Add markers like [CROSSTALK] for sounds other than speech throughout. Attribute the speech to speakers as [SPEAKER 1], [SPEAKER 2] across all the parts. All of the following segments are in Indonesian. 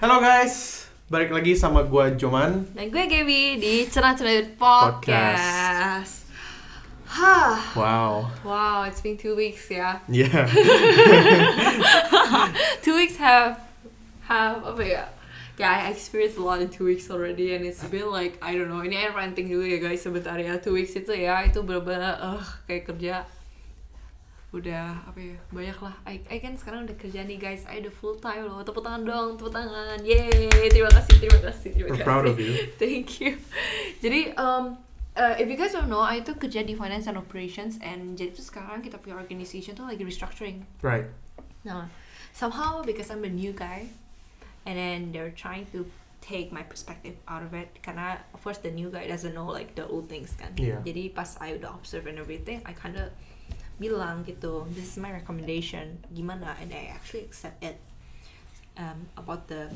[SPEAKER 1] Halo guys, balik lagi sama gua Joman.
[SPEAKER 2] Dan Nah, gue Gaby di Cerah Cerah Podcast.
[SPEAKER 1] Podcast.
[SPEAKER 2] Hah,
[SPEAKER 1] Wow.
[SPEAKER 2] wow, it's been two weeks ya.
[SPEAKER 1] [LAUGHS] Yeah.
[SPEAKER 2] Two weeks have have apa ya? Yeah, I experienced a lot in two weeks already and it's been like I don't know. Ini air ranting dulu ya guys sebentar ya. Two weeks itu ya itu bener-bener eh kayak kerja udah apa ya banyak lah I, I kan sekarang udah kerja nih guys I udah full time loh tepuk tangan dong tepuk tangan yeay terima kasih terima kasih terima
[SPEAKER 1] We're
[SPEAKER 2] kasih
[SPEAKER 1] proud of you.
[SPEAKER 2] [LAUGHS] Thank you. Jadi, um, uh, if you guys don't know, I itu kerja di finance and operations, and jadi tuh sekarang kita punya organization tuh lagi restructuring.
[SPEAKER 1] Right.
[SPEAKER 2] Nah, somehow because I'm a new guy, and then they're trying to take my perspective out of it karena of course the new guy doesn't know like the old things kan.
[SPEAKER 1] Yeah.
[SPEAKER 2] Jadi pas I udah observe and everything, I kinda bilang gitu, this is my recommendation, gimana? And I actually accept it um, about the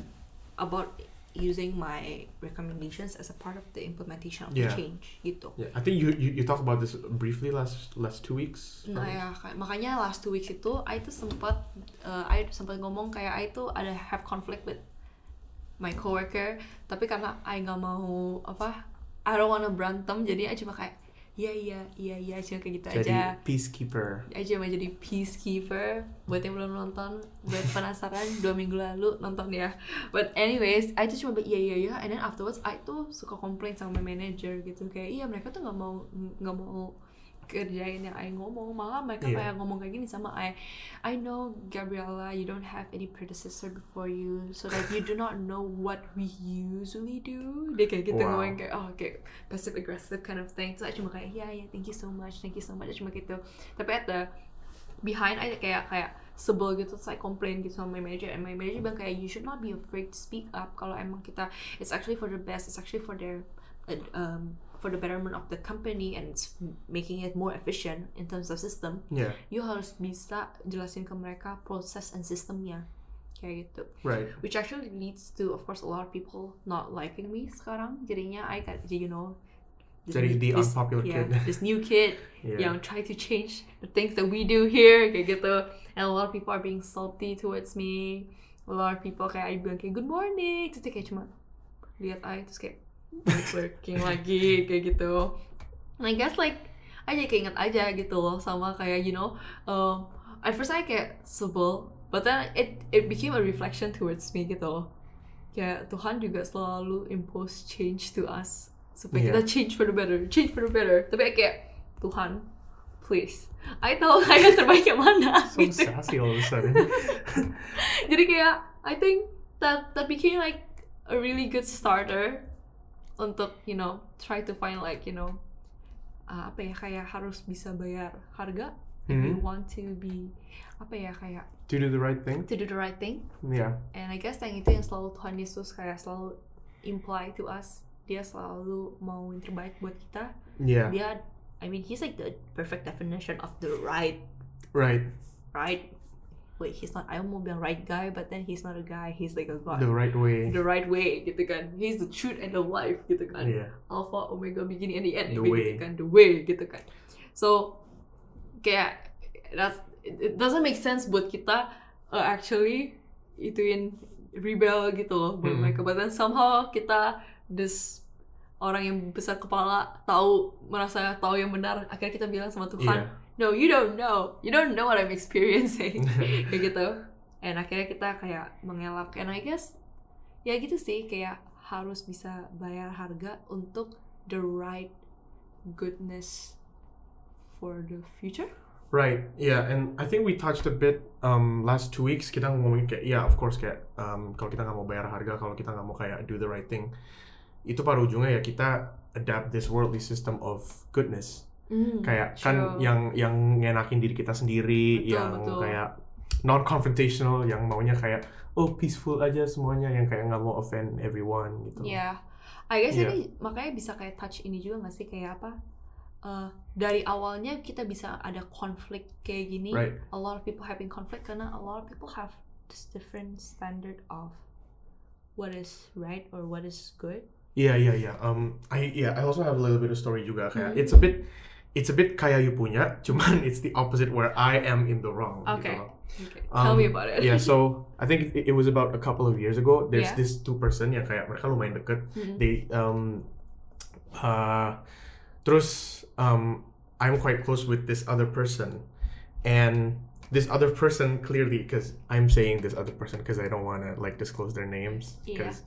[SPEAKER 2] about using my recommendations as a part of the implementation of
[SPEAKER 1] Yeah.
[SPEAKER 2] the change gitu.
[SPEAKER 1] Yeah, I think you, you you talk about this briefly last last two weeks.
[SPEAKER 2] Nah
[SPEAKER 1] right?
[SPEAKER 2] ya, kayak- makanya last two weeks itu, I tuh sempat, uh, I sempat ngomong kayak I tuh ada have conflict with my coworker, tapi karena I nggak mau apa, I don't wanna berantem, jadi I cuma kayak iya iya iya iya cuma kayak gitu
[SPEAKER 1] Jadi
[SPEAKER 2] aja.
[SPEAKER 1] peacekeeper.
[SPEAKER 2] I cuma Eh, jadi peacekeeper buat yang belum nonton, buat penasaran dua minggu lalu nonton ya. But anyways, I tuh cuma bilang, iya iya iya, and then afterwards I tuh suka complain sama my manager gitu kayak iya mereka tuh nggak mau nggak mau kerjain yang I ngomong malah mereka
[SPEAKER 1] Iya.
[SPEAKER 2] kayak ngomong kayak gini sama I I know Gabriella you don't have any predecessor before you so like you do not know what we usually do dia kayak gitu
[SPEAKER 1] Wow.
[SPEAKER 2] ngomong kayak oh kayak passive aggressive kind of thing so I cuma kayak ya ya thank you so much thank you so much I cuma gitu tapi at the behind I kayak kayak sebel gitu terus I complain gitu sama my manager and my manager bilang kayak you should not be afraid to speak up kalau emang kita it's actually for the best it's actually for their uh, um, for the betterment of the company and it's making it more efficient in terms of system
[SPEAKER 1] Yeah.
[SPEAKER 2] you harus bisa jelasin ke mereka proses and sistemnya kayak gitu
[SPEAKER 1] Right.
[SPEAKER 2] which actually leads to of course a lot of people not liking me sekarang jadinya I got you know this
[SPEAKER 1] Jadi
[SPEAKER 2] new-
[SPEAKER 1] the
[SPEAKER 2] this-
[SPEAKER 1] unpopular
[SPEAKER 2] yeah,
[SPEAKER 1] kid.
[SPEAKER 2] this new kid
[SPEAKER 1] [LAUGHS] Yeah.
[SPEAKER 2] yang try to change the things that we do here kayak gitu and a lot of people are being salty towards me a lot of people kayak I bilang kayak good morning terus dia kayak cuma lihat I terus kayak
[SPEAKER 1] [LAUGHS]
[SPEAKER 2] working lagi kayak gitu and I guess like I jadi keinget aja gitu loh sama kayak you know um, at first I kayak sebel but then it it became a reflection towards me gitu loh kayak Tuhan juga selalu impose change to us supaya
[SPEAKER 1] Iya.
[SPEAKER 2] kita change for the better change for the better tapi kayak Tuhan please I [LAUGHS] tahu I yang terbaik yang mana [LAUGHS] gitu.
[SPEAKER 1] So sassy all of a sudden.
[SPEAKER 2] jadi kayak I think that that became like a really good starter untuk you know try to find like you know uh, apa ya kayak harus bisa bayar harga if you
[SPEAKER 1] Hmm.
[SPEAKER 2] want to be apa ya kayak
[SPEAKER 1] To do the right thing.
[SPEAKER 2] to do the right thing
[SPEAKER 1] Yeah.
[SPEAKER 2] and I guess yang itu yang selalu Tuhan Yesus kayak selalu imply to us dia selalu mau yang terbaik buat kita
[SPEAKER 1] Yeah.
[SPEAKER 2] dia I mean he's like the perfect definition of the right
[SPEAKER 1] Right.
[SPEAKER 2] right wait he's not I almost bilang right guy but then he's not a guy he's like a God
[SPEAKER 1] The right way.
[SPEAKER 2] the right way gitu kan he's the truth and the life gitu kan
[SPEAKER 1] Yeah.
[SPEAKER 2] alpha omega beginning and the end
[SPEAKER 1] The
[SPEAKER 2] gitu
[SPEAKER 1] way.
[SPEAKER 2] kan the way gitu kan so kayak that's it it doesn't make sense buat kita uh, actually ituin rebel gitu loh buat
[SPEAKER 1] Hmm.
[SPEAKER 2] mereka but then somehow kita this orang yang besar kepala tahu merasa tahu yang benar akhirnya kita bilang sama Tuhan
[SPEAKER 1] Yeah.
[SPEAKER 2] no you don't know you don't know what I'm experiencing kayak gitu and akhirnya kita kayak mengelak and I guess ya gitu sih kayak harus bisa bayar harga untuk the right goodness for the future
[SPEAKER 1] Right, yeah, and I think we touched a bit um, last two weeks kita ngomongin kayak, ya of course kayak um, kalau kita nggak mau bayar harga, kalau kita nggak mau kayak do the right thing, itu pada ujungnya ya kita adapt this worldly system of goodness. Kayak kan
[SPEAKER 2] Hmm, true.
[SPEAKER 1] yang yang ngenakin diri kita sendiri,
[SPEAKER 2] Betul,
[SPEAKER 1] yang
[SPEAKER 2] betul.
[SPEAKER 1] kayak non confrontational, yang maunya kayak oh peaceful aja semuanya, yang kayak nggak mau offend everyone gitu.
[SPEAKER 2] ya I guess
[SPEAKER 1] Iya.
[SPEAKER 2] ini makanya bisa kayak touch ini juga nggak sih kayak apa Eh, dari awalnya kita bisa ada konflik kayak gini
[SPEAKER 1] Right.
[SPEAKER 2] a lot of people having conflict karena a lot of people have this different standard of what is right or what is good Hmm.
[SPEAKER 1] Iya iya iya. Um, I yeah, I also have a little bit of story juga kayak it's a bit it's a bit kayak you punya, [LAUGHS] cuman it's the opposite where I am in the wrong. gitu
[SPEAKER 2] Okay.
[SPEAKER 1] loh.
[SPEAKER 2] Okay. Tell me
[SPEAKER 1] Um,
[SPEAKER 2] about it.
[SPEAKER 1] yeah,
[SPEAKER 2] [LAUGHS]
[SPEAKER 1] so I think it, it was about a couple of years ago. There's
[SPEAKER 2] Yeah.
[SPEAKER 1] this two person yang kayak mereka lumayan deket.
[SPEAKER 2] Mhm.
[SPEAKER 1] They um, uh, terus um, I'm quite close with this other person, and this other person clearly because I'm saying this other person because I don't want to like disclose their names
[SPEAKER 2] Iya.
[SPEAKER 1] because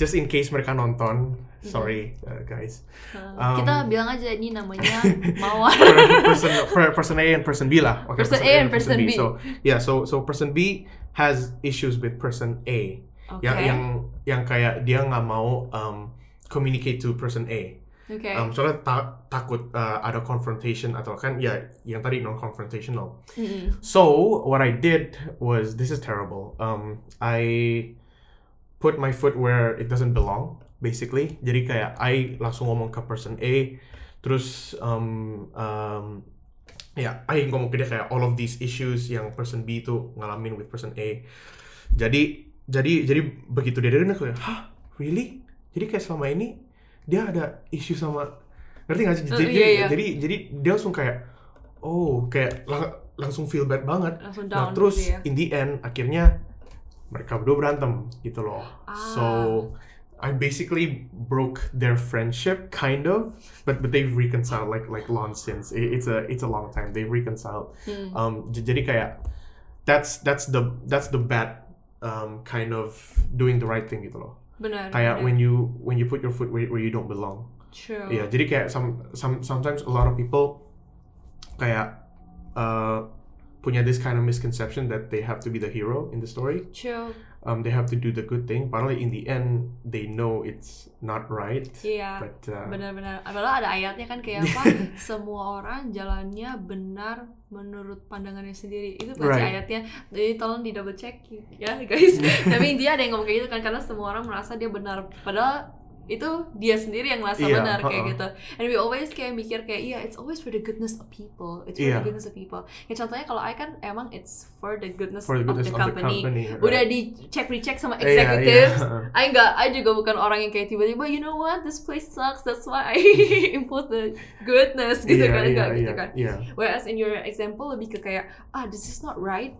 [SPEAKER 1] just in case mereka nonton.
[SPEAKER 2] Mm-hmm.
[SPEAKER 1] Sorry, uh, guys.
[SPEAKER 2] Uh,
[SPEAKER 1] um,
[SPEAKER 2] kita bilang aja ini
[SPEAKER 1] [LAUGHS]
[SPEAKER 2] namanya Mawar.
[SPEAKER 1] per- person
[SPEAKER 2] [LAUGHS]
[SPEAKER 1] per- person A and person B lah. Okay,
[SPEAKER 2] Person A and person B.
[SPEAKER 1] So yeah, so so person B has issues with person A. Yang
[SPEAKER 2] okay.
[SPEAKER 1] Ya, yang yang kayak dia nggak mau um, communicate to person A.
[SPEAKER 2] okay.
[SPEAKER 1] Um, soalnya ta- takut uh, ada confrontation atau kan ya yang tadi non confrontational.
[SPEAKER 2] Mm-mm.
[SPEAKER 1] So what I did was this is terrible. Um, I put my foot where it doesn't belong, basically. Jadi kayak I langsung ngomong ke person A, terus um, um, ya I ngomong ke dia kayak all of these issues yang person B itu ngalamin with person A. Jadi jadi jadi begitu dia dengar kayak hah really? Jadi kayak selama ini dia ada issue sama ngerti nggak sih?
[SPEAKER 2] Eh,
[SPEAKER 1] Jadi,
[SPEAKER 2] iya, iya.
[SPEAKER 1] jadi jadi dia langsung kayak oh kayak lang- langsung feel bad banget.
[SPEAKER 2] Langsung
[SPEAKER 1] Nah
[SPEAKER 2] down
[SPEAKER 1] terus
[SPEAKER 2] gitu ya.
[SPEAKER 1] in the end akhirnya mereka berdua berantem gitu loh.
[SPEAKER 2] Ah.
[SPEAKER 1] So I basically broke their friendship kind of, but but they've reconciled like like long since. It- it's a it's a long time. They've reconciled.
[SPEAKER 2] Hmm.
[SPEAKER 1] Um j- jadi kayak that's that's the that's the bad um kind of doing the right thing gitu loh.
[SPEAKER 2] Benar.
[SPEAKER 1] Kayak
[SPEAKER 2] benar.
[SPEAKER 1] when you when you put your foot where, where you don't belong.
[SPEAKER 2] True.
[SPEAKER 1] Iya, jadi kayak some, some, sometimes a lot of people kayak uh, punya this kind of misconception that they have to be the hero in the story.
[SPEAKER 2] True.
[SPEAKER 1] Um, they have to do the good thing. Padahal in the end they know it's not right.
[SPEAKER 2] Iya.
[SPEAKER 1] But uh,
[SPEAKER 2] benar-benar padahal ada ayatnya kan kayak
[SPEAKER 1] [LAUGHS]
[SPEAKER 2] apa semua orang jalannya benar menurut pandangannya sendiri itu pasti
[SPEAKER 1] Right.
[SPEAKER 2] ayatnya jadi tolong di double check ya
[SPEAKER 1] [LAUGHS]
[SPEAKER 2] guys tapi dia ada yang ngomong kayak gitu kan karena semua orang merasa dia benar padahal itu dia sendiri yang merasa
[SPEAKER 1] Iya,
[SPEAKER 2] benar kayak
[SPEAKER 1] uh-uh.
[SPEAKER 2] gitu and we always kayak mikir kayak iya it's always for the goodness of people it's for
[SPEAKER 1] Iya.
[SPEAKER 2] the goodness of people ya contohnya kalau I kan emang it's for the goodness,
[SPEAKER 1] for the goodness
[SPEAKER 2] of, the, company. udah gitu
[SPEAKER 1] right. Eh,
[SPEAKER 2] dicek recheck sama
[SPEAKER 1] Iya, iya.
[SPEAKER 2] executive
[SPEAKER 1] [LAUGHS]
[SPEAKER 2] I nggak, I juga bukan orang yang kayak tiba-tiba, you know what, this place sucks, that's why I [LAUGHS] import the goodness gitu
[SPEAKER 1] Iya,
[SPEAKER 2] kan,
[SPEAKER 1] iya,
[SPEAKER 2] enggak gitu
[SPEAKER 1] iya,
[SPEAKER 2] kan.
[SPEAKER 1] iya.
[SPEAKER 2] Whereas in your example lebih ke kayak, ah this is not right,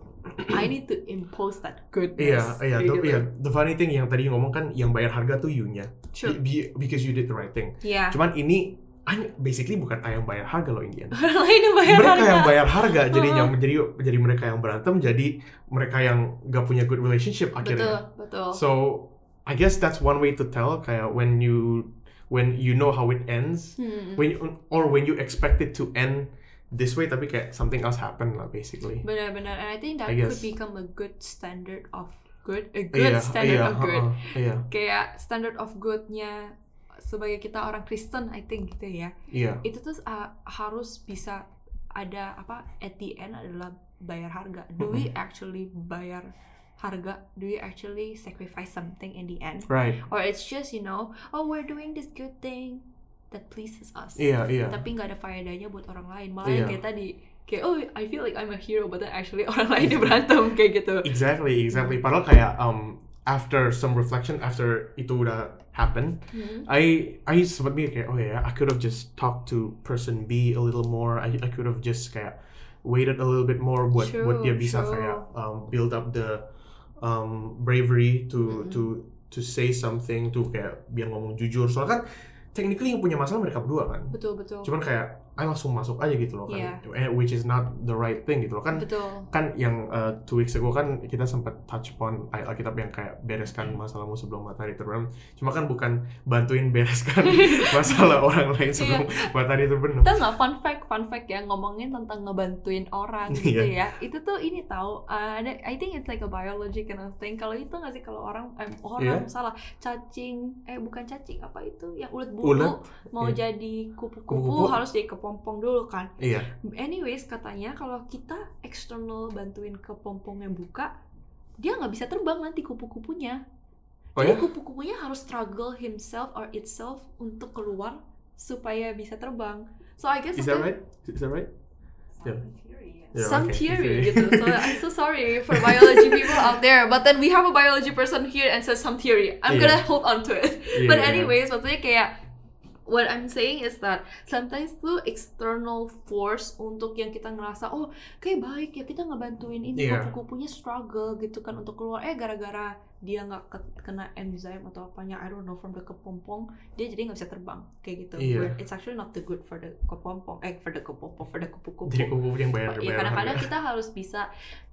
[SPEAKER 2] I need to impose that goodness.
[SPEAKER 1] Iya, iya,
[SPEAKER 2] kayak
[SPEAKER 1] tuh-
[SPEAKER 2] gitu.
[SPEAKER 1] iya. The funny thing yang tadi ngomong kan yang bayar harga tuh you-nya.
[SPEAKER 2] True.
[SPEAKER 1] Be- because you did the right thing.
[SPEAKER 2] Iya.
[SPEAKER 1] Cuman ini I- basically bukan I yang bayar harga loh in the end.
[SPEAKER 2] Orang [LAUGHS] lain yang bayar
[SPEAKER 1] mereka
[SPEAKER 2] harga.
[SPEAKER 1] yang bayar harga jadinya menjadi jadi mereka yang berantem jadi mereka yang gak punya good relationship
[SPEAKER 2] Betul,
[SPEAKER 1] akhirnya
[SPEAKER 2] betul.
[SPEAKER 1] so I guess that's one way to tell kayak when you when you know how it ends
[SPEAKER 2] Hmm.
[SPEAKER 1] when you, or when you expect it to end this way tapi kayak something else happened lah basically
[SPEAKER 2] Benar-benar, and I think that
[SPEAKER 1] I guess.
[SPEAKER 2] could become a good standard of good, a good
[SPEAKER 1] Iya,
[SPEAKER 2] standard
[SPEAKER 1] iya,
[SPEAKER 2] of good.
[SPEAKER 1] heeh, iya,
[SPEAKER 2] Kayak standard of goodnya sebagai kita orang Kristen, I think gitu ya.
[SPEAKER 1] iya,
[SPEAKER 2] itu tuh uh, harus bisa ada apa at the end adalah bayar harga do we actually bayar harga do we actually sacrifice something in the end
[SPEAKER 1] right,
[SPEAKER 2] or it's just you know oh we're doing this good thing that pleases us
[SPEAKER 1] iya, iya,
[SPEAKER 2] tapi nggak ada faedahnya buat orang lain malah
[SPEAKER 1] Iya.
[SPEAKER 2] yang kayak tadi kayak oh I feel like I'm a hero but then actually [LAUGHS] orang lain yang berantem kayak gitu
[SPEAKER 1] exactly,
[SPEAKER 2] Hmm.
[SPEAKER 1] exactly. Padahal kayak um after some reflection after itu udah happen
[SPEAKER 2] Hmm.
[SPEAKER 1] I I sempat mikir kayak oh ya I could have just talked to person B a little more I I could have just kayak waited a little bit more buat
[SPEAKER 2] True,
[SPEAKER 1] buat dia bisa
[SPEAKER 2] true.
[SPEAKER 1] kayak um, build up the um, bravery to
[SPEAKER 2] Mm-mm.
[SPEAKER 1] to to say something to kayak biar ngomong jujur soalnya kan technically yang punya masalah mereka berdua kan
[SPEAKER 2] betul betul
[SPEAKER 1] cuman kayak I langsung masuk aja gitu loh kan Eh, which is not the right thing gitu loh kan
[SPEAKER 2] betul
[SPEAKER 1] kan yang uh, two weeks ago kan kita sempat touch upon ayat Alkitab yang kayak bereskan
[SPEAKER 2] Hmm.
[SPEAKER 1] masalahmu sebelum matahari terbenam. Cuma kan bukan bantuin bereskan
[SPEAKER 2] [LAUGHS]
[SPEAKER 1] masalah orang lain sebelum
[SPEAKER 2] Iya.
[SPEAKER 1] matahari terbenam.
[SPEAKER 2] Kita nggak fun fact fun fact ya ngomongin tentang ngebantuin orang gitu
[SPEAKER 1] Iya.
[SPEAKER 2] ya itu tuh ini tahu uh, ada I think it's like a biology kind of thing kalau itu nggak sih kalau orang eh, orang
[SPEAKER 1] Iya.
[SPEAKER 2] salah cacing eh bukan cacing apa itu yang ulet bulu
[SPEAKER 1] Ulet,
[SPEAKER 2] mau
[SPEAKER 1] iya.
[SPEAKER 2] jadi kupu-kupu
[SPEAKER 1] Kupu-kupu.
[SPEAKER 2] harus jadi kepompong dulu kan
[SPEAKER 1] Iya,
[SPEAKER 2] anyways katanya kalau kita eksternal bantuin kepompongnya buka dia nggak bisa terbang nanti kupu-kupunya
[SPEAKER 1] Oh
[SPEAKER 2] jadi
[SPEAKER 1] ya?
[SPEAKER 2] kupu-kupunya harus struggle himself or itself untuk keluar supaya bisa terbang so I guess
[SPEAKER 1] is that
[SPEAKER 2] sometimes-
[SPEAKER 1] right? Is that right? Yeah. Yeah,
[SPEAKER 2] some
[SPEAKER 1] okay, okay.
[SPEAKER 2] theory gitu. So I'm so sorry for biology people out there, but then we have a biology person here and says some theory. I'm
[SPEAKER 1] Iya.
[SPEAKER 2] gonna hold on to it.
[SPEAKER 1] Iya,
[SPEAKER 2] But
[SPEAKER 1] iya.
[SPEAKER 2] anyways, maksudnya kayak what I'm saying is that sometimes tuh external force untuk yang kita ngerasa oh kayak baik ya kita ngebantuin ini
[SPEAKER 1] Iya.
[SPEAKER 2] kupu-kupunya struggle gitu kan untuk keluar eh gara-gara dia nggak ke- kena enzyme atau apanya I don't know from the kepompong dia jadi nggak bisa terbang kayak gitu
[SPEAKER 1] Iya.
[SPEAKER 2] Where it's actually not the good for the kepompong eh for the kepompong for the kupu-kupu
[SPEAKER 1] jadi kupu-kupu yang bayar
[SPEAKER 2] ya
[SPEAKER 1] bayar
[SPEAKER 2] kadang-kadang
[SPEAKER 1] harga
[SPEAKER 2] kita harus bisa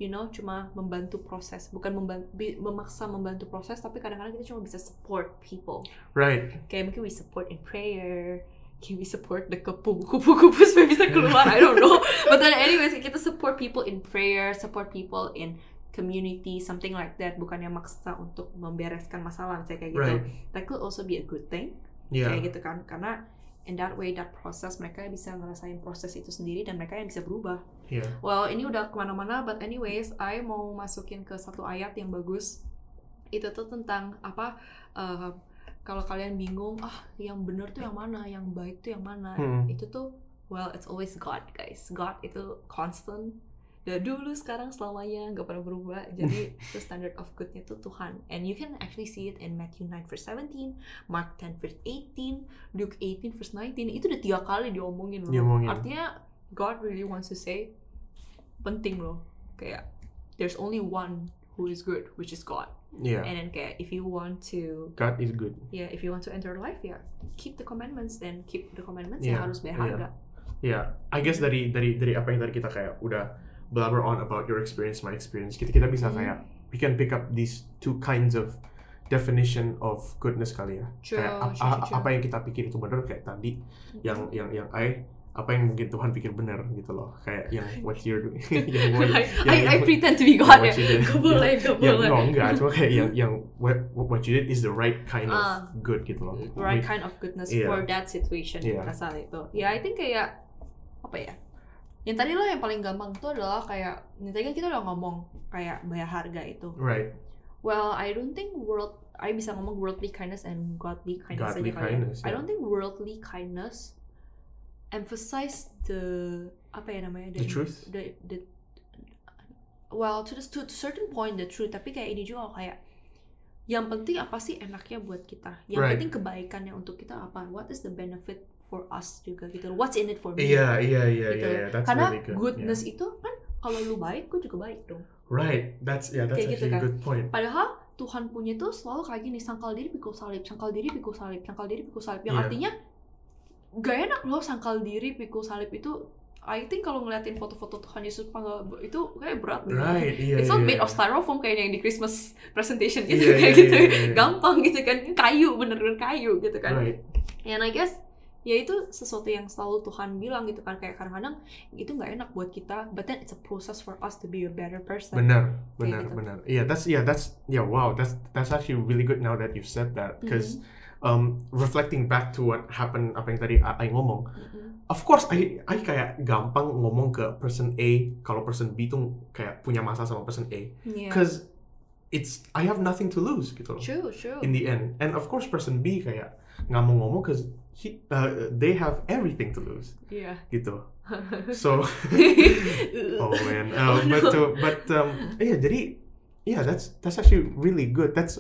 [SPEAKER 2] you know cuma membantu proses bukan memban- bi- memaksa membantu proses tapi kadang-kadang kita cuma bisa support people
[SPEAKER 1] right
[SPEAKER 2] kayak mungkin we support in prayer can we support the kepu kupu kupu [LAUGHS] supaya bisa keluar I don't know but then anyways kita support people in prayer support people in community something like that bukannya maksa untuk membereskan masalah saya kayak gitu
[SPEAKER 1] right Iya,
[SPEAKER 2] that could also be a good thing
[SPEAKER 1] yeah
[SPEAKER 2] kayak gitu kan karena in that way that process mereka bisa ngerasain proses itu sendiri dan mereka yang bisa berubah
[SPEAKER 1] yeah
[SPEAKER 2] Well, ini udah kemana-mana, but anyways, I mau masukin ke satu ayat yang bagus. Itu tuh tentang apa? eh, kalau kalian bingung, ah, yang bener tuh yang mana, yang baik tuh yang mana?
[SPEAKER 1] Hmm.
[SPEAKER 2] Itu tuh, well, it's always God, guys. God itu constant. Dari dulu, sekarang, selamanya, nggak pernah berubah.
[SPEAKER 1] [LAUGHS]
[SPEAKER 2] Jadi, the standard of goodnya tuh Tuhan. And you can actually see it in Matthew 9 verse 17, Mark 10 verse 18, Luke 18 verse 19. Itu udah tiga kali diomongin loh.
[SPEAKER 1] Diomongin.
[SPEAKER 2] Artinya, God really wants to say, penting loh kayak there's only one who is good which is God
[SPEAKER 1] yeah
[SPEAKER 2] and then kayak if you want to
[SPEAKER 1] iya. God is good
[SPEAKER 2] yeah if you want to enter life ya keep the commandments then keep the commandments
[SPEAKER 1] Yeah,
[SPEAKER 2] ya harus bayar
[SPEAKER 1] yeah.
[SPEAKER 2] harga
[SPEAKER 1] Ya, I guess dari dari dari apa yang tadi kita kayak udah blabber on about your experience, my experience, kita kita bisa
[SPEAKER 2] Hmm.
[SPEAKER 1] kayak we can pick up these two kinds of definition of goodness kali ya.
[SPEAKER 2] Hmm, True,
[SPEAKER 1] kayak a-
[SPEAKER 2] true, true,
[SPEAKER 1] a-
[SPEAKER 2] true.
[SPEAKER 1] apa yang kita pikir itu benar kayak tadi
[SPEAKER 2] [LAUGHS]
[SPEAKER 1] yang yang yang I apa yang mungkin Tuhan pikir benar gitu loh kayak
[SPEAKER 2] [LAUGHS]
[SPEAKER 1] yang what you're doing [LAUGHS] yang what-
[SPEAKER 2] I, I,
[SPEAKER 1] yang-
[SPEAKER 2] I pretend to be
[SPEAKER 1] yang what
[SPEAKER 2] God ya
[SPEAKER 1] you
[SPEAKER 2] [LAUGHS]
[SPEAKER 1] did.
[SPEAKER 2] gak boleh gak
[SPEAKER 1] yang
[SPEAKER 2] boleh
[SPEAKER 1] no, enggak cuma kayak yang yang what, what you did is the right kind
[SPEAKER 2] Ah.
[SPEAKER 1] of good gitu loh
[SPEAKER 2] [LAUGHS] right kind of goodness
[SPEAKER 1] Yeah.
[SPEAKER 2] for that situation
[SPEAKER 1] Yeah.
[SPEAKER 2] rasa itu ya I think kayak apa ya yang tadi lah yang paling gampang tuh adalah kayak yang tadi kan kita udah ngomong kayak bayar harga itu
[SPEAKER 1] right
[SPEAKER 2] Well, I don't think world I bisa ngomong worldly kindness and godly kindness
[SPEAKER 1] Godly
[SPEAKER 2] aja kali ya.
[SPEAKER 1] kindness, ya.
[SPEAKER 2] I don't think worldly kindness emphasize the apa ya namanya
[SPEAKER 1] The truth?
[SPEAKER 2] the the well to the to, to certain point the truth tapi kayak ini juga kayak yang penting apa sih enaknya buat kita yang
[SPEAKER 1] Right.
[SPEAKER 2] penting kebaikannya untuk kita apa what is the benefit for us juga gitu what's in it for me
[SPEAKER 1] iya iya iya
[SPEAKER 2] gitu
[SPEAKER 1] iya iya, that's
[SPEAKER 2] karena
[SPEAKER 1] really good yeah.
[SPEAKER 2] goodness itu kan kalau lu baik gue juga baik dong
[SPEAKER 1] Right, that's yeah, that's
[SPEAKER 2] Kayak gitu
[SPEAKER 1] actually
[SPEAKER 2] kan.
[SPEAKER 1] a good point.
[SPEAKER 2] Padahal Tuhan punya tuh selalu kayak gini sangkal diri pikul salib, sangkal diri pikul salib, sangkal diri pikul salib. Yang
[SPEAKER 1] Iya.
[SPEAKER 2] artinya gak enak loh sangkal diri pikul salib itu. I think kalau ngeliatin foto-foto Tuhan Yesus panggal itu kayak berat banget.
[SPEAKER 1] Right, iya.
[SPEAKER 2] It's
[SPEAKER 1] iya,
[SPEAKER 2] not made
[SPEAKER 1] iya.
[SPEAKER 2] of styrofoam kayak yang di Christmas presentation gitu
[SPEAKER 1] Iya,
[SPEAKER 2] kayak
[SPEAKER 1] iya,
[SPEAKER 2] gitu.
[SPEAKER 1] iya, iya.
[SPEAKER 2] Gampang gitu kan, kayu bener-bener kayu gitu kan.
[SPEAKER 1] Right,
[SPEAKER 2] And I guess ya itu sesuatu yang selalu Tuhan bilang gitu kan kayak kadang-kadang itu nggak enak buat kita, but then it's a process for us to be a better person.
[SPEAKER 1] benar, benar,
[SPEAKER 2] gitu.
[SPEAKER 1] benar. Yeah, Iya, that's yeah, that's yeah. Wow, that's that's actually really good now that you've said that
[SPEAKER 2] Mm-hmm.
[SPEAKER 1] because um reflecting back to what happened apa yang tadi I, I ngomong.
[SPEAKER 2] Mm-mm.
[SPEAKER 1] Of course, I I kayak gampang ngomong ke person A kalau person B tuh kayak punya masalah sama person A
[SPEAKER 2] Yeah.
[SPEAKER 1] because it's I have nothing to lose gitu loh.
[SPEAKER 2] True, true.
[SPEAKER 1] In the end, and of course, person B kayak nggak mau ngomong because he uh, they have everything to lose
[SPEAKER 2] [LAUGHS] Yeah.
[SPEAKER 1] gitu. So
[SPEAKER 2] [LAUGHS]
[SPEAKER 1] Oh man, uh,
[SPEAKER 2] Oh, no.
[SPEAKER 1] but uh, but um, yeah, jadi yeah, that's that's actually really good. That's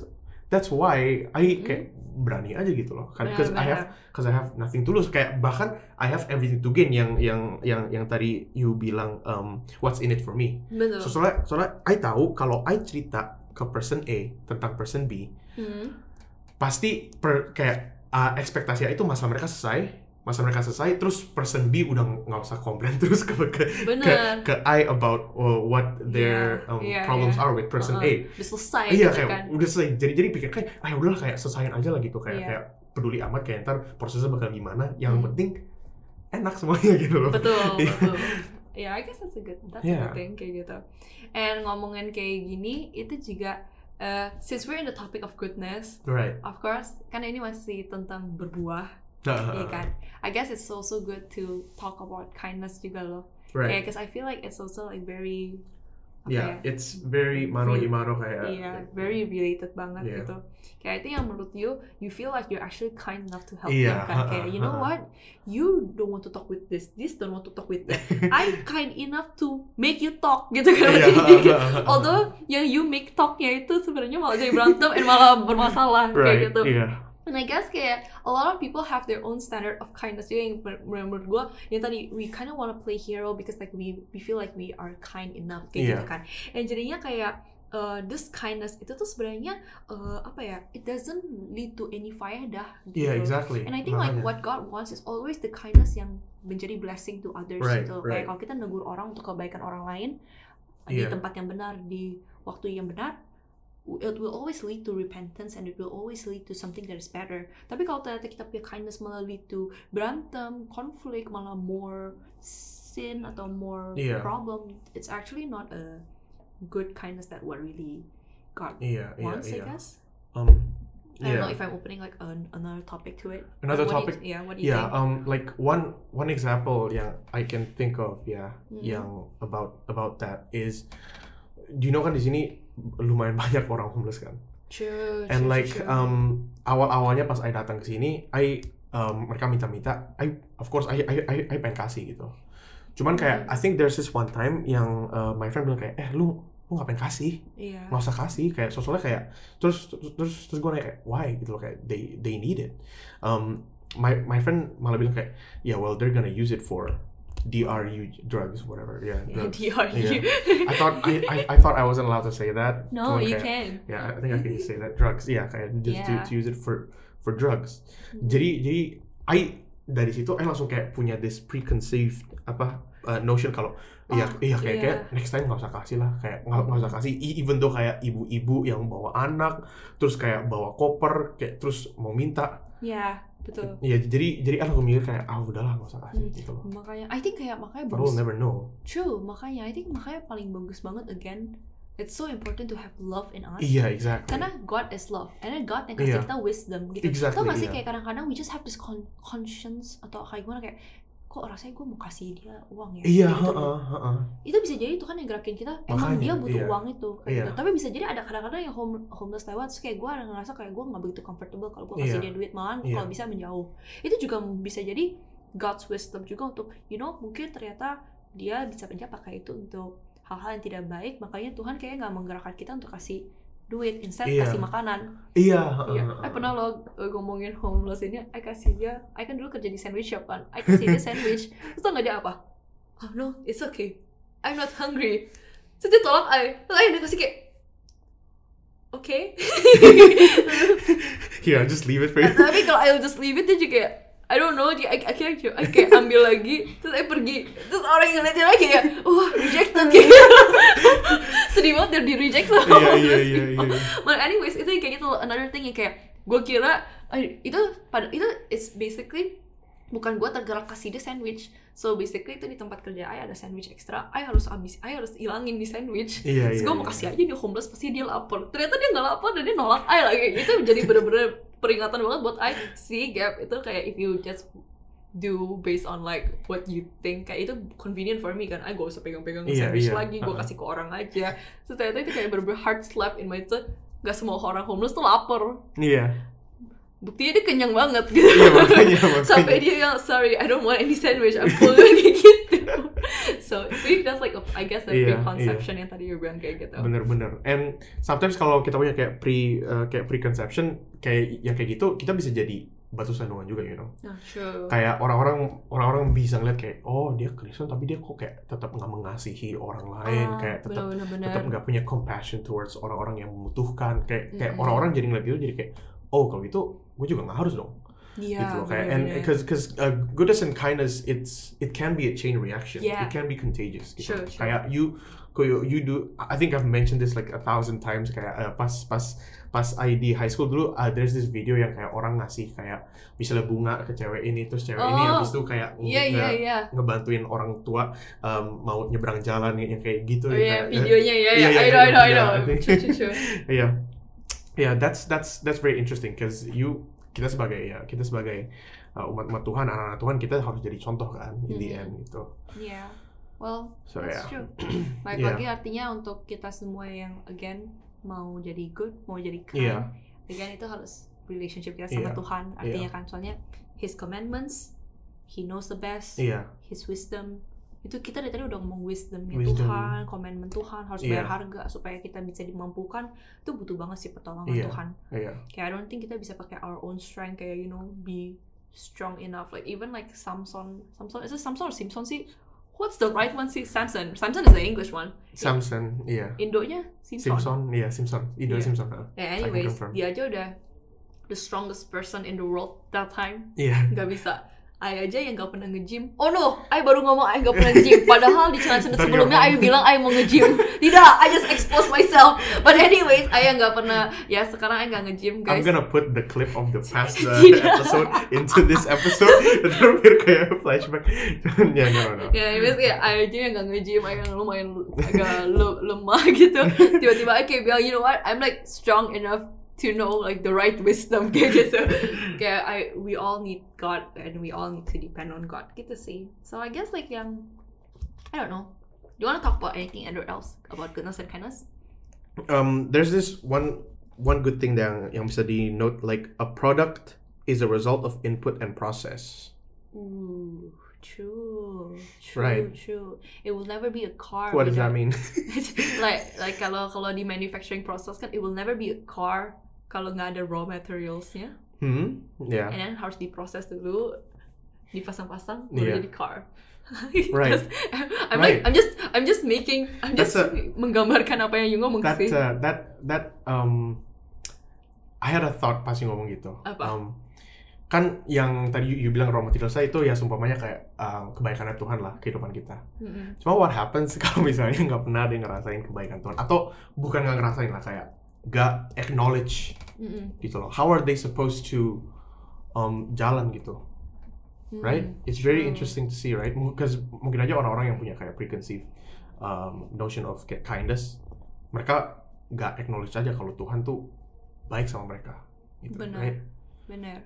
[SPEAKER 1] that's why
[SPEAKER 2] Mm-hmm.
[SPEAKER 1] I kayak berani aja gitu loh, kan? Because I have because I have nothing to lose. Kayak bahkan I have everything to gain yang yang yang yang tadi you bilang um, what's in it for me.
[SPEAKER 2] Betul.
[SPEAKER 1] So soalnya soalnya I tahu kalau I cerita ke person A tentang person B,
[SPEAKER 2] Hmm.
[SPEAKER 1] pasti per, kayak uh, ekspektasi itu masalah mereka selesai masalah mereka selesai terus person B udah ng- nggak usah komplain [LAUGHS] terus ke ke ke,
[SPEAKER 2] Bener.
[SPEAKER 1] ke I about uh, what their
[SPEAKER 2] Yeah,
[SPEAKER 1] um,
[SPEAKER 2] yeah,
[SPEAKER 1] problems
[SPEAKER 2] yeah.
[SPEAKER 1] are with person
[SPEAKER 2] Iya. Uh-uh.
[SPEAKER 1] A
[SPEAKER 2] Udah selesai
[SPEAKER 1] [LAUGHS] iya
[SPEAKER 2] gitu
[SPEAKER 1] kayak
[SPEAKER 2] kan.
[SPEAKER 1] udah selesai jadi jadi pikir kayak ah udahlah kayak selesaiin aja lah gitu kayak
[SPEAKER 2] Iya.
[SPEAKER 1] kayak peduli amat kayak ntar prosesnya bakal gimana yang
[SPEAKER 2] Hmm.
[SPEAKER 1] penting enak semuanya [LAUGHS] gitu loh
[SPEAKER 2] Betul,
[SPEAKER 1] Iya.
[SPEAKER 2] betul. Ya, I guess that's a good, that's a
[SPEAKER 1] Yeah.
[SPEAKER 2] good thing kayak gitu. And ngomongin kayak gini itu juga eh, since we're in the topic of goodness,
[SPEAKER 1] right
[SPEAKER 2] of course, karena ini masih tentang berbuah,
[SPEAKER 1] Uh,
[SPEAKER 2] ya kan. I guess it's also good to talk about kindness juga loh.
[SPEAKER 1] right
[SPEAKER 2] Kayak, cause I feel like it's also like very apa
[SPEAKER 1] yeah
[SPEAKER 2] ya,
[SPEAKER 1] it's very mano
[SPEAKER 2] Feel-
[SPEAKER 1] imano kayak
[SPEAKER 2] Iya,
[SPEAKER 1] [LAUGHS]
[SPEAKER 2] very [LAUGHS] related banget
[SPEAKER 1] Iya.
[SPEAKER 2] gitu. Kayak itu yang menurut you, you feel like you're actually kind enough to help
[SPEAKER 1] Iya,
[SPEAKER 2] them kan.
[SPEAKER 1] ha-ha, [LAUGHS]
[SPEAKER 2] Kayak you know
[SPEAKER 1] ha-ha.
[SPEAKER 2] what, you don't want to talk with this, this don't want to talk with that. I kind enough to make you talk [LAUGHS] gitu kan.
[SPEAKER 1] Iya,
[SPEAKER 2] Maksudnya kayak gitu.
[SPEAKER 1] ha-ha.
[SPEAKER 2] Although yang you make talknya itu sebenarnya eh, malah jadi berantem and malah bermasalah
[SPEAKER 1] right
[SPEAKER 2] kayak gitu.
[SPEAKER 1] iya
[SPEAKER 2] And I guess kayak a lot of people have their own standard of kindness. Jadi yang mer- menurut gue, yang tadi we kind of want to play hero because like we we feel like we are kind enough kayak
[SPEAKER 1] Iya.
[SPEAKER 2] gitu kan. And jadinya kayak uh, this kindness itu tuh sebenarnya uh, apa ya? It doesn't lead to any faedah.
[SPEAKER 1] yeah
[SPEAKER 2] gitu.
[SPEAKER 1] exactly
[SPEAKER 2] And I think
[SPEAKER 1] Makanya.
[SPEAKER 2] like what God wants is always the kindness yang menjadi blessing to others
[SPEAKER 1] Right,
[SPEAKER 2] gitu.
[SPEAKER 1] right.
[SPEAKER 2] Kayak kalau kita negur orang untuk kebaikan orang lain di
[SPEAKER 1] Iya.
[SPEAKER 2] tempat yang benar, di waktu yang benar, it will always lead to repentance and it will always lead to something that is better. Tapi kalau ternyata kita punya kindness malah lead to berantem, konflik, malah more sin atau more
[SPEAKER 1] Iya.
[SPEAKER 2] problem, it's actually not a good kindness that what really God
[SPEAKER 1] iya iya
[SPEAKER 2] wants,
[SPEAKER 1] iya
[SPEAKER 2] I guess.
[SPEAKER 1] um
[SPEAKER 2] I don't know
[SPEAKER 1] yeah
[SPEAKER 2] if I'm opening like an, another topic to it.
[SPEAKER 1] Another
[SPEAKER 2] What do you-
[SPEAKER 1] topic?
[SPEAKER 2] yeah. What do you
[SPEAKER 1] yeah
[SPEAKER 2] think?
[SPEAKER 1] um like one one example yang I can think of ya
[SPEAKER 2] Mm.
[SPEAKER 1] yang about about that is do you know kan di sini lumayan [LAUGHS] banyak orang homeless kan
[SPEAKER 2] True.
[SPEAKER 1] and
[SPEAKER 2] true,
[SPEAKER 1] like
[SPEAKER 2] true.
[SPEAKER 1] um awal awalnya pas I datang ke sini I um, mereka minta minta I of course I I I, I pengen kasih gitu cuman kayak
[SPEAKER 2] Hmm.
[SPEAKER 1] I think there's this one time yang uh, my friend bilang kayak eh lu lu ngapain kasih
[SPEAKER 2] yeah. [LAUGHS]
[SPEAKER 1] nggak usah kasih kayak so- soalnya kayak terus terus terus, terus gue nanya kayak why gitu loh kayak they they need it um, my my friend malah bilang kayak yeah well they're gonna use it for DRU drugs whatever yeah,
[SPEAKER 2] Yeah,
[SPEAKER 1] drugs.
[SPEAKER 2] DRU.
[SPEAKER 1] I thought I, I I thought I wasn't allowed to say that
[SPEAKER 2] [LAUGHS] no,
[SPEAKER 1] Cuman
[SPEAKER 2] you
[SPEAKER 1] kayak-
[SPEAKER 2] can.
[SPEAKER 1] yeah I think I can say that drugs yeah kayak just to-
[SPEAKER 2] Yeah. Hmm.
[SPEAKER 1] to, use it for for drugs jadi jadi I dari situ I langsung kayak punya this preconceived apa uh, notion kalau iya
[SPEAKER 2] Oh,
[SPEAKER 1] iya kayak
[SPEAKER 2] iya.
[SPEAKER 1] kayak next time nggak usah kasih lah kayak nggak nggak usah kasih E- even though kayak ibu-ibu yang bawa anak terus kayak bawa koper kayak terus mau minta
[SPEAKER 2] Yeah, betul.
[SPEAKER 1] ya jadi jadi aku mikir kayak ah udahlah nggak usah kasih
[SPEAKER 2] Hmm.
[SPEAKER 1] gitu loh
[SPEAKER 2] Makanya, I think kayak makanya
[SPEAKER 1] But we'll
[SPEAKER 2] bagus.
[SPEAKER 1] never know.
[SPEAKER 2] True, makanya I think makanya paling bagus banget again. It's so important to have love in us.
[SPEAKER 1] Iya, exactly.
[SPEAKER 2] Karena God is love, and then God yang kasih
[SPEAKER 1] Iya.
[SPEAKER 2] kita wisdom gitu.
[SPEAKER 1] Exactly,
[SPEAKER 2] Tau gak
[SPEAKER 1] iya.
[SPEAKER 2] sih kayak kadang-kadang we just have this con- conscience atau kayak gimana kayak kok rasanya gue mau kasih dia uang ya.
[SPEAKER 1] Iya,
[SPEAKER 2] Gitu loh.
[SPEAKER 1] heeh, heeh.
[SPEAKER 2] itu bisa jadi Tuhan yang gerakin kita emang
[SPEAKER 1] Makanya,
[SPEAKER 2] dia butuh
[SPEAKER 1] iya.
[SPEAKER 2] uang itu kayak
[SPEAKER 1] Iya.
[SPEAKER 2] gitu. tapi bisa jadi ada kadang-kadang yang home, homeless lewat terus kayak gue ada ngerasa kayak gue nggak begitu comfortable kalau gue
[SPEAKER 1] Iya.
[SPEAKER 2] kasih dia duit malah
[SPEAKER 1] Iya.
[SPEAKER 2] kalau bisa menjauh itu juga bisa jadi God's wisdom juga untuk you know mungkin ternyata dia bisa pencet pakai itu untuk hal-hal yang tidak baik makanya Tuhan kayaknya nggak menggerakkan kita untuk kasih duit instead
[SPEAKER 1] Iya.
[SPEAKER 2] kasih makanan
[SPEAKER 1] Iya,
[SPEAKER 2] iya
[SPEAKER 1] heeh,
[SPEAKER 2] I pernah lo eh, ngomongin homeless ini I kasih dia I kan dulu kerja di sandwich shop kan I kasih dia
[SPEAKER 1] [LAUGHS]
[SPEAKER 2] sandwich terus tau gak dia apa oh no it's okay I'm not hungry terus dia tolak I terus akhirnya dia kasih kayak
[SPEAKER 1] [LAUGHS]
[SPEAKER 2] oke
[SPEAKER 1] Here, I'll just leave it for
[SPEAKER 2] [LAUGHS]
[SPEAKER 1] you.
[SPEAKER 2] tapi kalau I'll just leave it dia juga kayak I don't know, dia I, I can't I kayak ambil lagi, terus I pergi, terus orang yang ngeliatin lagi ya, wah rejected
[SPEAKER 1] [LAUGHS]
[SPEAKER 2] kayak gitu. sedih banget dia di reject sama
[SPEAKER 1] Iya, iya, iya,
[SPEAKER 2] homeless people.
[SPEAKER 1] iya.
[SPEAKER 2] Well, anyways, itu yang kayak gitu loh. Another thing yang kayak gue kira eh, itu pada itu it's basically bukan gue tergerak kasih dia sandwich. So basically itu di tempat kerja ayah ada sandwich ekstra, ayah harus habis, ayah harus ilangin di sandwich.
[SPEAKER 1] Iya, iya.
[SPEAKER 2] Terus gue mau kasih aja dia homeless pasti dia lapor. Ternyata dia nggak lapor dan dia nolak ayah lagi. Itu gitu. jadi bener-bener peringatan banget buat ayah see gap itu kayak if you just do based on like what you think kayak itu convenient for me kan I gak usah pegang-pegang
[SPEAKER 1] Iya,
[SPEAKER 2] sandwich
[SPEAKER 1] iya.
[SPEAKER 2] lagi gue
[SPEAKER 1] Uh-uh.
[SPEAKER 2] kasih ke orang aja terus ternyata itu kayak bener-bener hard slap in my throat gak semua orang homeless tuh lapar
[SPEAKER 1] Iya.
[SPEAKER 2] buktinya dia kenyang banget gitu
[SPEAKER 1] Iya, makanya, makanya.
[SPEAKER 2] [LAUGHS] sampai dia bilang sorry I don't want any sandwich I'm full [LAUGHS] kayak gitu so see that's like a, I guess a
[SPEAKER 1] Iya,
[SPEAKER 2] preconception yang tadi you bilang kayak gitu
[SPEAKER 1] bener-bener and sometimes kalau kita punya kayak pre eh, kayak preconception kayak yang kayak gitu kita bisa jadi batu sandungan juga you know
[SPEAKER 2] Nah, true
[SPEAKER 1] kayak orang-orang orang-orang bisa ngeliat kayak oh dia Kristen tapi dia kok kayak tetap nggak mengasihi orang lain
[SPEAKER 2] Ah,
[SPEAKER 1] kayak tetap
[SPEAKER 2] bener-bener.
[SPEAKER 1] tetap nggak punya compassion towards orang-orang yang membutuhkan kayak kayak
[SPEAKER 2] Mm-mm.
[SPEAKER 1] orang-orang jadi ngeliat gitu jadi kayak oh kalau gitu gue juga nggak harus dong
[SPEAKER 2] Iya,
[SPEAKER 1] gitu loh kayak and
[SPEAKER 2] bener-bener.
[SPEAKER 1] because because uh, goodness and kindness it's it can be a chain reaction
[SPEAKER 2] Yeah.
[SPEAKER 1] it can be contagious gitu
[SPEAKER 2] Sure,
[SPEAKER 1] loh.
[SPEAKER 2] sure.
[SPEAKER 1] kayak you kok you, you do I think I've mentioned this like a thousand times kayak uh, pas pas pas I di high school dulu uh, there's this video yang kayak orang ngasih kayak misalnya bunga ke cewek ini terus cewek ini
[SPEAKER 2] Oh.
[SPEAKER 1] habis itu kayak
[SPEAKER 2] iya iya
[SPEAKER 1] nge-
[SPEAKER 2] iya
[SPEAKER 1] ngebantuin orang tua um, mau nyebrang jalan yang yang kayak gitu
[SPEAKER 2] Oh
[SPEAKER 1] ya,
[SPEAKER 2] iya,
[SPEAKER 1] kayak-
[SPEAKER 2] videonya ya, ya,
[SPEAKER 1] Iya, iya,
[SPEAKER 2] I know, I know, I
[SPEAKER 1] iya,
[SPEAKER 2] know.
[SPEAKER 1] iya.
[SPEAKER 2] True, true, true.
[SPEAKER 1] Iya. Ya, that's that's that's very interesting because you kita sebagai ya kita sebagai uh, umat umat Tuhan anak-anak Tuhan kita harus jadi contoh kan in the
[SPEAKER 2] Mhm.
[SPEAKER 1] end gitu.
[SPEAKER 2] Yeah. Well,
[SPEAKER 1] So
[SPEAKER 2] that's
[SPEAKER 1] ya. [CLEARS THROAT]
[SPEAKER 2] true. Baik
[SPEAKER 1] Iya.
[SPEAKER 2] lagi artinya untuk kita semua yang again mau jadi good, mau jadi kind,
[SPEAKER 1] Iya.
[SPEAKER 2] again itu harus relationship kita
[SPEAKER 1] Iya.
[SPEAKER 2] sama Tuhan. Artinya kan soalnya His commandments, He knows the best,
[SPEAKER 1] Iya.
[SPEAKER 2] His wisdom, itu kita dari tadi udah ngomong wisdomnya
[SPEAKER 1] Wisdom.
[SPEAKER 2] Tuhan, komitmen Tuhan harus
[SPEAKER 1] Iya.
[SPEAKER 2] bayar harga supaya kita bisa dimampukan itu butuh banget sih pertolongan
[SPEAKER 1] Iya.
[SPEAKER 2] Tuhan.
[SPEAKER 1] Iya.
[SPEAKER 2] Kayak I don't think kita bisa pakai our own strength kayak you know be strong enough like even like Samson, Samson is it Samson or Simpson sih? What's the right one sih? Samson. Samson is the English one.
[SPEAKER 1] Samson, iya.
[SPEAKER 2] Indonya Simpson.
[SPEAKER 1] Simpson, iya Simpson. Indo
[SPEAKER 2] Iya.
[SPEAKER 1] Simpson. heeh.
[SPEAKER 2] Yeah,
[SPEAKER 1] I can
[SPEAKER 2] anyways,
[SPEAKER 1] confirm.
[SPEAKER 2] dia aja udah the strongest person in the world that time. [LAUGHS]
[SPEAKER 1] Iya.
[SPEAKER 2] Gak bisa. Ai aja yang gak pernah nge-gym. Oh no, Ai baru ngomong Ai gak pernah nge-gym. Padahal di channel
[SPEAKER 1] Ntar
[SPEAKER 2] sebelumnya Ai
[SPEAKER 1] ngomong.
[SPEAKER 2] bilang Ai
[SPEAKER 1] [LAUGHS]
[SPEAKER 2] mau nge-gym. Tidak, I just expose myself. But anyways, Ai yang gak pernah. Ya sekarang Ai gak nge-gym
[SPEAKER 1] I'm
[SPEAKER 2] guys.
[SPEAKER 1] gonna put the clip of
[SPEAKER 2] [LAUGHS]
[SPEAKER 1] the past uh,
[SPEAKER 2] Tidak.
[SPEAKER 1] episode into this episode. [LAUGHS]
[SPEAKER 2] [LAUGHS]
[SPEAKER 1] Itu biar kayak flashback. [LAUGHS] ya, no, no.
[SPEAKER 2] Ya, anyways kayak Ai aja yang gak nge-gym. Ai yang lumayan agak [LAUGHS] le- lemah gitu. Tiba-tiba Ai kayak bilang, you know what, I'm like strong enough to know like the right wisdom [LAUGHS] kayak gitu. kayak I we all need God and we all need to depend on God gitu sih. So I guess like yang I don't know. Do you want to talk about anything other else about goodness and kindness?
[SPEAKER 1] um, there's this one one good thing yang yang bisa di note like a product is a result of input and process.
[SPEAKER 2] Ooh, true, true,
[SPEAKER 1] Right.
[SPEAKER 2] true. It will never be a car.
[SPEAKER 1] What does that
[SPEAKER 2] without-
[SPEAKER 1] mean?
[SPEAKER 2] [LAUGHS] like like kalau kalau di manufacturing process kan it will never be a car kalau nggak ada raw materialsnya
[SPEAKER 1] hmm? Yeah.
[SPEAKER 2] and then harus diproses dulu dipasang-pasang
[SPEAKER 1] Iya.
[SPEAKER 2] baru jadi car [LAUGHS]
[SPEAKER 1] Right. Right.
[SPEAKER 2] I'm like I'm just I'm just making I'm
[SPEAKER 1] That's
[SPEAKER 2] just menggambarkan apa yang you ngomong
[SPEAKER 1] That
[SPEAKER 2] sih
[SPEAKER 1] uh, that that um, I had a thought pas you ngomong gitu.
[SPEAKER 2] Apa?
[SPEAKER 1] Um, kan yang tadi you, you bilang raw material saya itu ya sumpamanya kayak uh, kebaikan Tuhan lah kehidupan kita.
[SPEAKER 2] Mm-mm.
[SPEAKER 1] Cuma what happens [LAUGHS] kalau misalnya nggak pernah ada yang ngerasain kebaikan Tuhan atau bukan nggak ngerasain lah kayak nggak acknowledge
[SPEAKER 2] Mm-mm.
[SPEAKER 1] gitu loh. How are they supposed to um, jalan gitu,
[SPEAKER 2] Mm-mm.
[SPEAKER 1] right? It's very
[SPEAKER 2] True.
[SPEAKER 1] interesting to see, right? Because mungkin aja orang-orang yang punya kayak preconceived um, notion of kayak kindness, mereka nggak acknowledge aja kalau Tuhan tuh baik sama mereka, gitu,
[SPEAKER 2] Benar.
[SPEAKER 1] right?
[SPEAKER 2] bener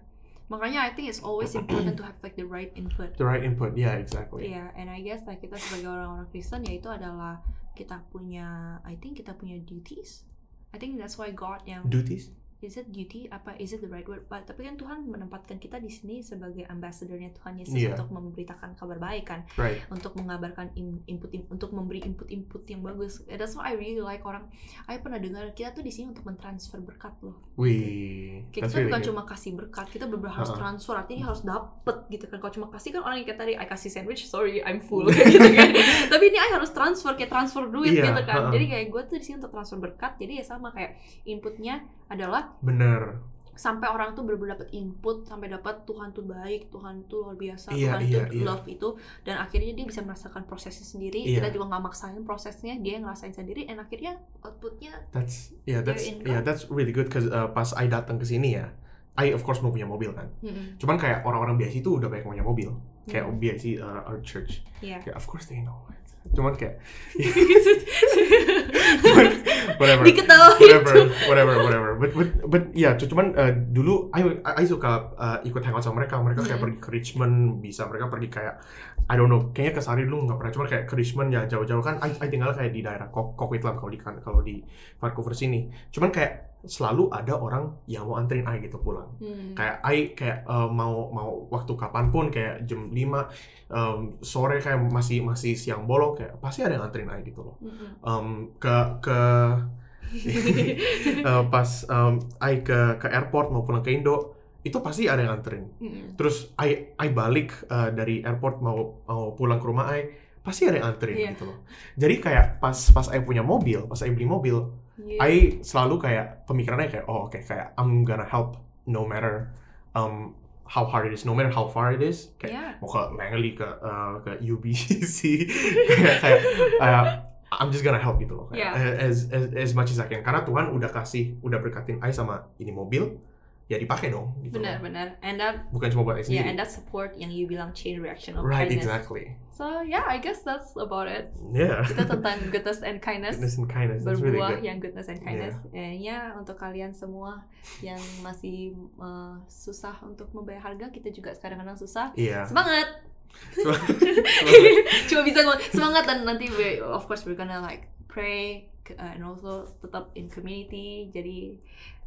[SPEAKER 2] makanya I think it's always important to have like the right input
[SPEAKER 1] The right input, yeah, exactly.
[SPEAKER 2] Iya, and I guess like kita sebagai orang-orang Kristen yaitu adalah kita punya, I think kita punya duties. I think that's why God yang
[SPEAKER 1] Duties,
[SPEAKER 2] is it duty apa is it the right word? But, tapi kan Tuhan menempatkan kita di sini sebagai ambassadornya Tuhan Yesus
[SPEAKER 1] Iya.
[SPEAKER 2] untuk memberitakan kabar baik kan,
[SPEAKER 1] right?
[SPEAKER 2] untuk mengabarkan in- input, in- untuk memberi input-input yang bagus. And That's why I really like orang. I pernah dengar kita tuh di sini untuk mentransfer berkat loh.
[SPEAKER 1] We.
[SPEAKER 2] Kayak kita bukan cuma kasih berkat, kita benar
[SPEAKER 1] Kan
[SPEAKER 2] harus
[SPEAKER 1] ya? Ha-ha.
[SPEAKER 2] transfer, artinya harus dapet gitu kan. Kalau cuma kasih kan orang yang kayak tadi, I kasih sandwich, sorry, I'm
[SPEAKER 1] [LAUGHS]
[SPEAKER 2] full kayak gitu kan. Tapi ini I harus transfer, kayak transfer duit
[SPEAKER 1] Iya,
[SPEAKER 2] gitu
[SPEAKER 1] ha-ha.
[SPEAKER 2] kan. Jadi kayak gue tuh di sini untuk transfer berkat, jadi ya sama kayak inputnya adalah
[SPEAKER 1] bener.
[SPEAKER 2] sampai orang tuh benar-benar dapat input, sampai dapat Tuhan tuh baik, Tuhan tuh luar biasa,
[SPEAKER 1] Iya,
[SPEAKER 2] Tuhan
[SPEAKER 1] iya,
[SPEAKER 2] tuh
[SPEAKER 1] iya.
[SPEAKER 2] love itu, dan akhirnya dia bisa merasakan prosesnya sendiri.
[SPEAKER 1] Iya.
[SPEAKER 2] Kita juga nggak maksain prosesnya, dia yang ngerasain sendiri, dan akhirnya outputnya
[SPEAKER 1] That's yeah, that's
[SPEAKER 2] Your income.
[SPEAKER 1] yeah, that's really good. Cause uh, pas I datang ke sini ya, I of course mau punya mobil kan.
[SPEAKER 2] Mm-mm.
[SPEAKER 1] Cuman kayak orang-orang biasa itu udah banyak punya mobil. Kayak [LAUGHS]
[SPEAKER 2] [LAUGHS] Mm.
[SPEAKER 1] biasa uh, our church.
[SPEAKER 2] Iya.
[SPEAKER 1] Kayak of course they know. it. Cuman kayak [LAUGHS]
[SPEAKER 2] [LAUGHS]
[SPEAKER 1] whatever.
[SPEAKER 2] Diketahui
[SPEAKER 1] whatever,
[SPEAKER 2] Oh, itu.
[SPEAKER 1] whatever, whatever. But but but ya, yeah, cuman uh, dulu I, I, I suka uh, ikut hangout sama mereka. Mereka kayak
[SPEAKER 2] Mm.
[SPEAKER 1] pergi ke Richmond, bisa mereka pergi kayak I don't know, kayaknya ke Sari dulu nggak pernah. Cuman kayak ke Richmond ya jauh-jauh kan. I, I tinggal kayak di daerah Kok Coquitlam kalau di kan, kalau di Vancouver sini. Cuman kayak selalu ada orang yang mau anterin I gitu pulang
[SPEAKER 2] Hmm.
[SPEAKER 1] kayak I kayak eh, mau mau waktu kapanpun kayak jam 5 em, sore kayak masih masih siang bolong kayak pasti ada yang nganterin I gitu loh [LAUGHS]
[SPEAKER 2] Mm-mm.
[SPEAKER 1] Em, ke ke eh, pas em, I ke ke airport mau pulang ke Indo itu pasti ada yang nganterin
[SPEAKER 2] Mm-mm.
[SPEAKER 1] terus I I balik eh, dari airport mau mau pulang ke rumah I pasti ada yang nganterin
[SPEAKER 2] Iya.
[SPEAKER 1] gitu loh jadi kayak pas pas I punya mobil pas I beli mobil
[SPEAKER 2] Yeah.
[SPEAKER 1] I selalu kayak pemikirannya kayak oh oke kayak I'm gonna help no matter um how hard it is no matter how far it is kayak
[SPEAKER 2] Yeah.
[SPEAKER 1] mau ke Langley ke uh, ke [LAUGHS] UBC kayak, kayak uh, I'm just gonna help gitu loh kayak, as, as as much as I can karena Tuhan udah kasih udah berkatin I sama ini mobil ya dipakai dong gitu loh.
[SPEAKER 2] benar-benar and that
[SPEAKER 1] bukan cuma buat I
[SPEAKER 2] yeah
[SPEAKER 1] sendiri
[SPEAKER 2] and that support yang you bilang chain reaction of
[SPEAKER 1] right
[SPEAKER 2] kindness
[SPEAKER 1] exactly
[SPEAKER 2] so yeah I guess that's about it
[SPEAKER 1] yeah [LAUGHS]
[SPEAKER 2] kita tentang goodness and kindness
[SPEAKER 1] goodness and kindness that's really
[SPEAKER 2] berbuah
[SPEAKER 1] good
[SPEAKER 2] yang goodness and kindness Eh, ya untuk kalian semua yang masih eh, susah untuk membayar harga kita juga kadang-kadang susah
[SPEAKER 1] iya
[SPEAKER 2] [LAUGHS] semangat [LAUGHS] cuma bisa ngomong semangat dan nanti we, of course we're gonna like pray ke- uh, and also tetap in community jadi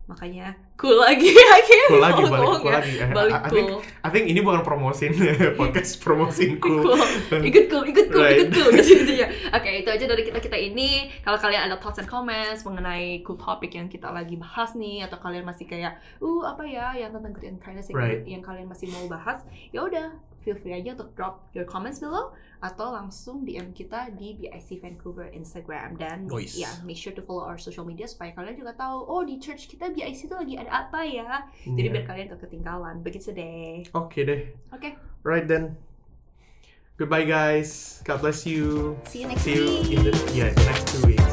[SPEAKER 2] makanya cool lagi [LAUGHS] akhirnya
[SPEAKER 1] Cool lagi,
[SPEAKER 2] Cool,
[SPEAKER 1] balik
[SPEAKER 2] cool,
[SPEAKER 1] cool
[SPEAKER 2] ya.
[SPEAKER 1] lagi. Eh,
[SPEAKER 2] balik
[SPEAKER 1] I- I think-
[SPEAKER 2] cool
[SPEAKER 1] I think ini bukan promosin [LAUGHS] podcast promosin
[SPEAKER 2] [LAUGHS] cool
[SPEAKER 1] cool.
[SPEAKER 2] ikut cool ikut cool
[SPEAKER 1] Right.
[SPEAKER 2] ikut
[SPEAKER 1] [LAUGHS]
[SPEAKER 2] cool gitu gitu ya oke itu aja dari kita kita ini kalau kalian ada thoughts and comments mengenai cool topic yang kita lagi bahas nih atau kalian masih kayak uh apa ya yang tentang greed and kindness yang,
[SPEAKER 1] Right.
[SPEAKER 2] yang kalian masih mau bahas ya udah feel free aja untuk drop your comments below atau langsung DM kita di BIC Vancouver Instagram dan
[SPEAKER 1] Nice.
[SPEAKER 2] ya make sure to follow our social media supaya kalian juga tahu oh di church kita BIC itu lagi ada apa ya jadi biar
[SPEAKER 1] Iya.
[SPEAKER 2] kalian gak ketinggalan begitu deh
[SPEAKER 1] Oke deh.
[SPEAKER 2] oke
[SPEAKER 1] Right then. Goodbye guys. God bless you.
[SPEAKER 2] see you next
[SPEAKER 1] See you
[SPEAKER 2] week
[SPEAKER 1] in the yeah, next two weeks.